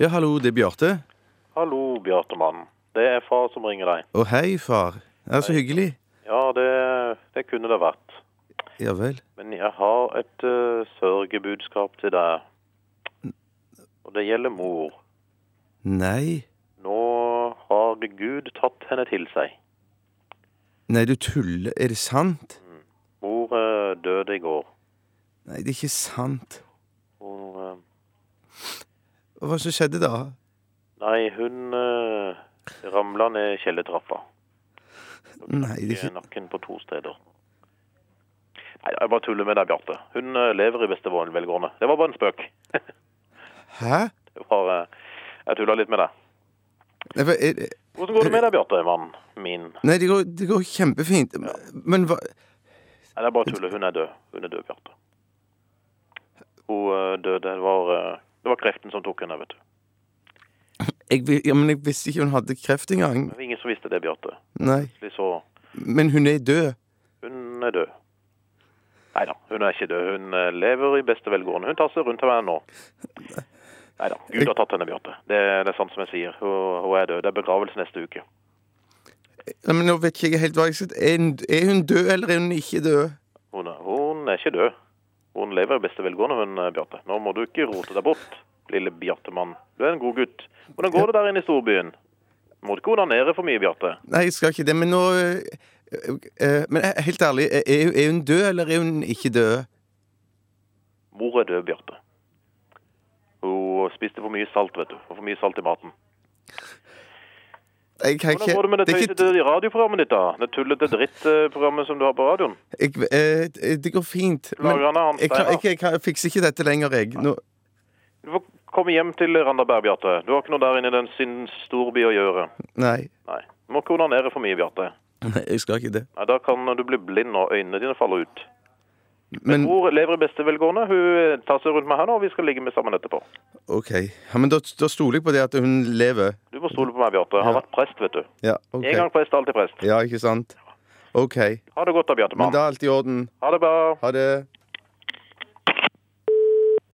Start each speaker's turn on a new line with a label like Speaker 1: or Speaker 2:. Speaker 1: Ja, hallo, det er Bjarte.
Speaker 2: Hallo, Bjartemann. Det er far som ringer deg.
Speaker 1: Å, hei, far. Ja, så hyggelig.
Speaker 2: Ja, det, det kunne det vært.
Speaker 1: Ja vel.
Speaker 2: Men jeg har et eh, sørgebudskap til deg. Og det gjelder mor.
Speaker 1: Nei.
Speaker 2: Nå har Gud tatt henne til seg.
Speaker 1: Nei, du tuller. Er det sant?
Speaker 2: Mor eh, døde i går.
Speaker 1: Nei, det er ikke sant.
Speaker 2: Hun, eh,
Speaker 1: Og Hva som skjedde da?
Speaker 2: nei, hun uh, ramla ned kjellertrappa.
Speaker 1: Nei, det er
Speaker 2: I
Speaker 1: ikke
Speaker 2: nakken på to steder. Nei, jeg bare tuller med deg, Bjarte. Hun eh, lever i beste velgående. Det var bare en spøk.
Speaker 1: Hæ?
Speaker 2: Det var, eh, jeg tulla litt med deg.
Speaker 1: Nei, hva er det?
Speaker 2: Hvordan går det med deg, Bjarte, mannen min?
Speaker 1: Nei det, går, det går kjempefint. Men hva
Speaker 2: Nei, det er bare tullet. Hun er død. Hun er død, Bjarte. Hun eh, døde. Det var, eh, det var kreften som tok henne, vet du.
Speaker 1: jeg, vi- ja, men jeg visste ikke hun hadde kreft engang.
Speaker 2: Det var ingen som visste det, Bjarte.
Speaker 1: Nei.
Speaker 2: Plutselig Så
Speaker 1: Men hun er død.
Speaker 2: hun er død. Nei da, hun er ikke død. Hun eh, lever i beste velgående. Hun tasser rundt her nå. Nei da, Gud har tatt henne, Bjarte. Det, det er sant som jeg sier. Hun, hun er død. Det er begravelse neste uke.
Speaker 1: Nei, men nå vet ikke jeg helt hva jeg skal er, hun- er hun død, eller er hun ikke død?
Speaker 2: Hun er, hun er ikke død. Hun lever i beste velgående, hun, eh, Bjarte. Nå må du ikke rote deg bort, lille Bjartemann. Du er en god gutt. Hvordan går det der inne i storbyen? Må du ikke onanere for mye, Bjarte?
Speaker 1: Nei, jeg skal ikke det, men nå øh, øh, øh, Men eh, helt ærlig, eh, er, er hun død, eller er hun ikke død?
Speaker 2: Mor er død, Bjarte. Hun spiste for mye salt, vet du. Og for mye salt i maten.
Speaker 1: Jeg kan ikke
Speaker 2: Hvordan går det med det
Speaker 1: er ikke-
Speaker 2: tøysete radioprogrammet ditt, da? Det tullete drittprogrammet som du har på radioen?
Speaker 1: jeg, eh, Det går fint. Men
Speaker 2: Lager han av
Speaker 1: jeg, kan,
Speaker 2: Steiner?
Speaker 1: jeg, jeg, kan, jeg fikser ikke dette lenger, jeg. Nå,
Speaker 2: Du får komme hjem til Randaberg, Bjarte. Du har ikke noe der inne i den sin storby å gjøre.
Speaker 1: nei.
Speaker 2: Nei. Du må ikke onanere for mye, Bjarte.
Speaker 1: Nei, jeg skal ikke det.
Speaker 2: Nei, Da kan du bli blind, og øynene dine faller ut.
Speaker 1: Men
Speaker 2: Mor lever i beste velgående. Hun eh, tar seg rundt meg her nå, og vi skal ligge med sammen etterpå.
Speaker 1: OK. Ja, men da, da stoler jeg på det at hun lever.
Speaker 2: Du må stole på meg, Bjarte. Jeg har
Speaker 1: Ja.
Speaker 2: vært prest, vet du.
Speaker 1: Ja, OK.
Speaker 2: En gang prest, alltid prest.
Speaker 1: Ja, ikke sant? OK.
Speaker 2: Ha det godt da, Bjarte.
Speaker 1: Men
Speaker 2: mann.
Speaker 1: da er alt i orden.
Speaker 2: Ha det bra.
Speaker 1: Ha det.